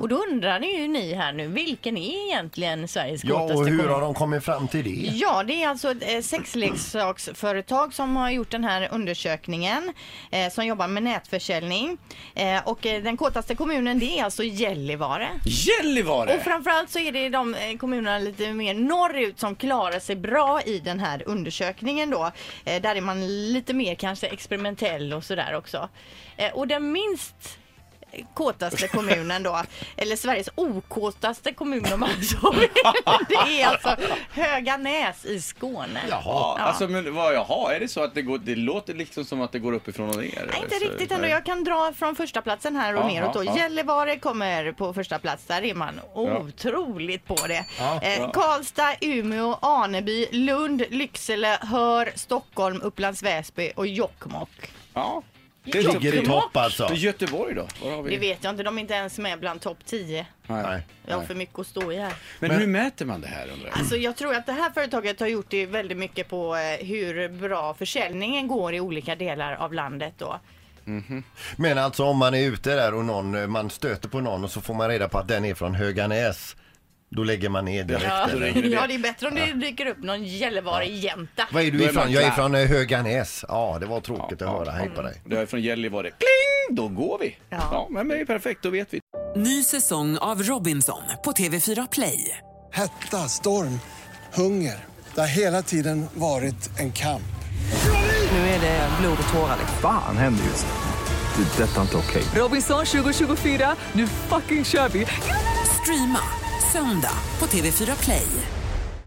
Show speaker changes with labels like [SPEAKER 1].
[SPEAKER 1] Och då undrar ni ju ni här nu, vilken är egentligen Sveriges
[SPEAKER 2] Ja,
[SPEAKER 1] kåtaste
[SPEAKER 2] och hur
[SPEAKER 1] kommun?
[SPEAKER 2] har de kommit fram till det?
[SPEAKER 1] Ja, det är alltså ett eh, sexleksaksföretag som har gjort den här undersökningen eh, som jobbar med nätförsäljning. Eh, och eh, den kåtaste kommunen det är alltså Gällivare. Och
[SPEAKER 3] Gällivare!
[SPEAKER 1] framförallt så är det de eh, kommunerna lite mer norrut som klarar sig bra i den här undersökningen då. Eh, Där är man lite mer kanske experimentell och sådär också. Eh, Och den minst kåtaste kommunen då, eller Sveriges okåtaste kommun om man så vill. Det är alltså Höganäs i Skåne.
[SPEAKER 3] Jaha, alltså men vad, jaha, är det så att det går, det låter liksom som att det går uppifrån och ner?
[SPEAKER 1] Nej,
[SPEAKER 3] Så-
[SPEAKER 1] inte riktigt ändå.
[SPEAKER 3] Alltså, nej.
[SPEAKER 1] Jag kan dra från första platsen här och
[SPEAKER 3] Ja,
[SPEAKER 1] neråt då.
[SPEAKER 3] ja, ja.
[SPEAKER 1] Gällivare kommer på första plats. Där är man otroligt på det. eh,
[SPEAKER 3] Ja.
[SPEAKER 1] Karlstad, Umeå, Aneby, Lund, Lycksele, Hör, Stockholm, Upplands Väsby och Jokkmokk.
[SPEAKER 3] Ja. Det är
[SPEAKER 2] Ligger i
[SPEAKER 3] topp.
[SPEAKER 2] topp alltså.
[SPEAKER 3] Så Göteborg då? Var har vi?
[SPEAKER 1] Det vet jag inte. De är inte ens med bland topp 10.
[SPEAKER 3] Nej.
[SPEAKER 2] Nej.
[SPEAKER 1] Jag har för mycket att stå i här.
[SPEAKER 3] Men, hur mäter man det här undrar jag?
[SPEAKER 1] Alltså jag tror att det här företaget har gjort det väldigt mycket på eh, hur bra försäljningen går i olika delar av landet då.
[SPEAKER 2] Men alltså om man är ute där och någon, eh, man stöter på någon och så får man reda på att den är från Höganäs. Då lägger man ner direkt.
[SPEAKER 1] Ja,
[SPEAKER 2] eller?
[SPEAKER 3] ringer det.
[SPEAKER 1] ja det är bättre om det dyker upp någon Gällivare-jänta.
[SPEAKER 2] Vad är
[SPEAKER 3] Då
[SPEAKER 2] du
[SPEAKER 3] är man
[SPEAKER 2] ifrån? Jag är
[SPEAKER 3] klar.
[SPEAKER 2] från eh, Höganäs. Ja, det var tråkigt att höra. Hej på dig.
[SPEAKER 3] Det är från Gällivare. Kling! Då går vi! Ja, men det är ju perfekt, då vet vi.
[SPEAKER 4] Ny säsong av Robinson på TV4 Play.
[SPEAKER 5] Hetta, storm, hunger. Det har hela tiden varit en kamp.
[SPEAKER 4] Nu är det blod och tårar. liksom.
[SPEAKER 6] Fan händer just nu. Det. är Detta är inte okej.
[SPEAKER 4] Robinson 2024, nu fucking kör vi! Streama söndag på TV4 Play.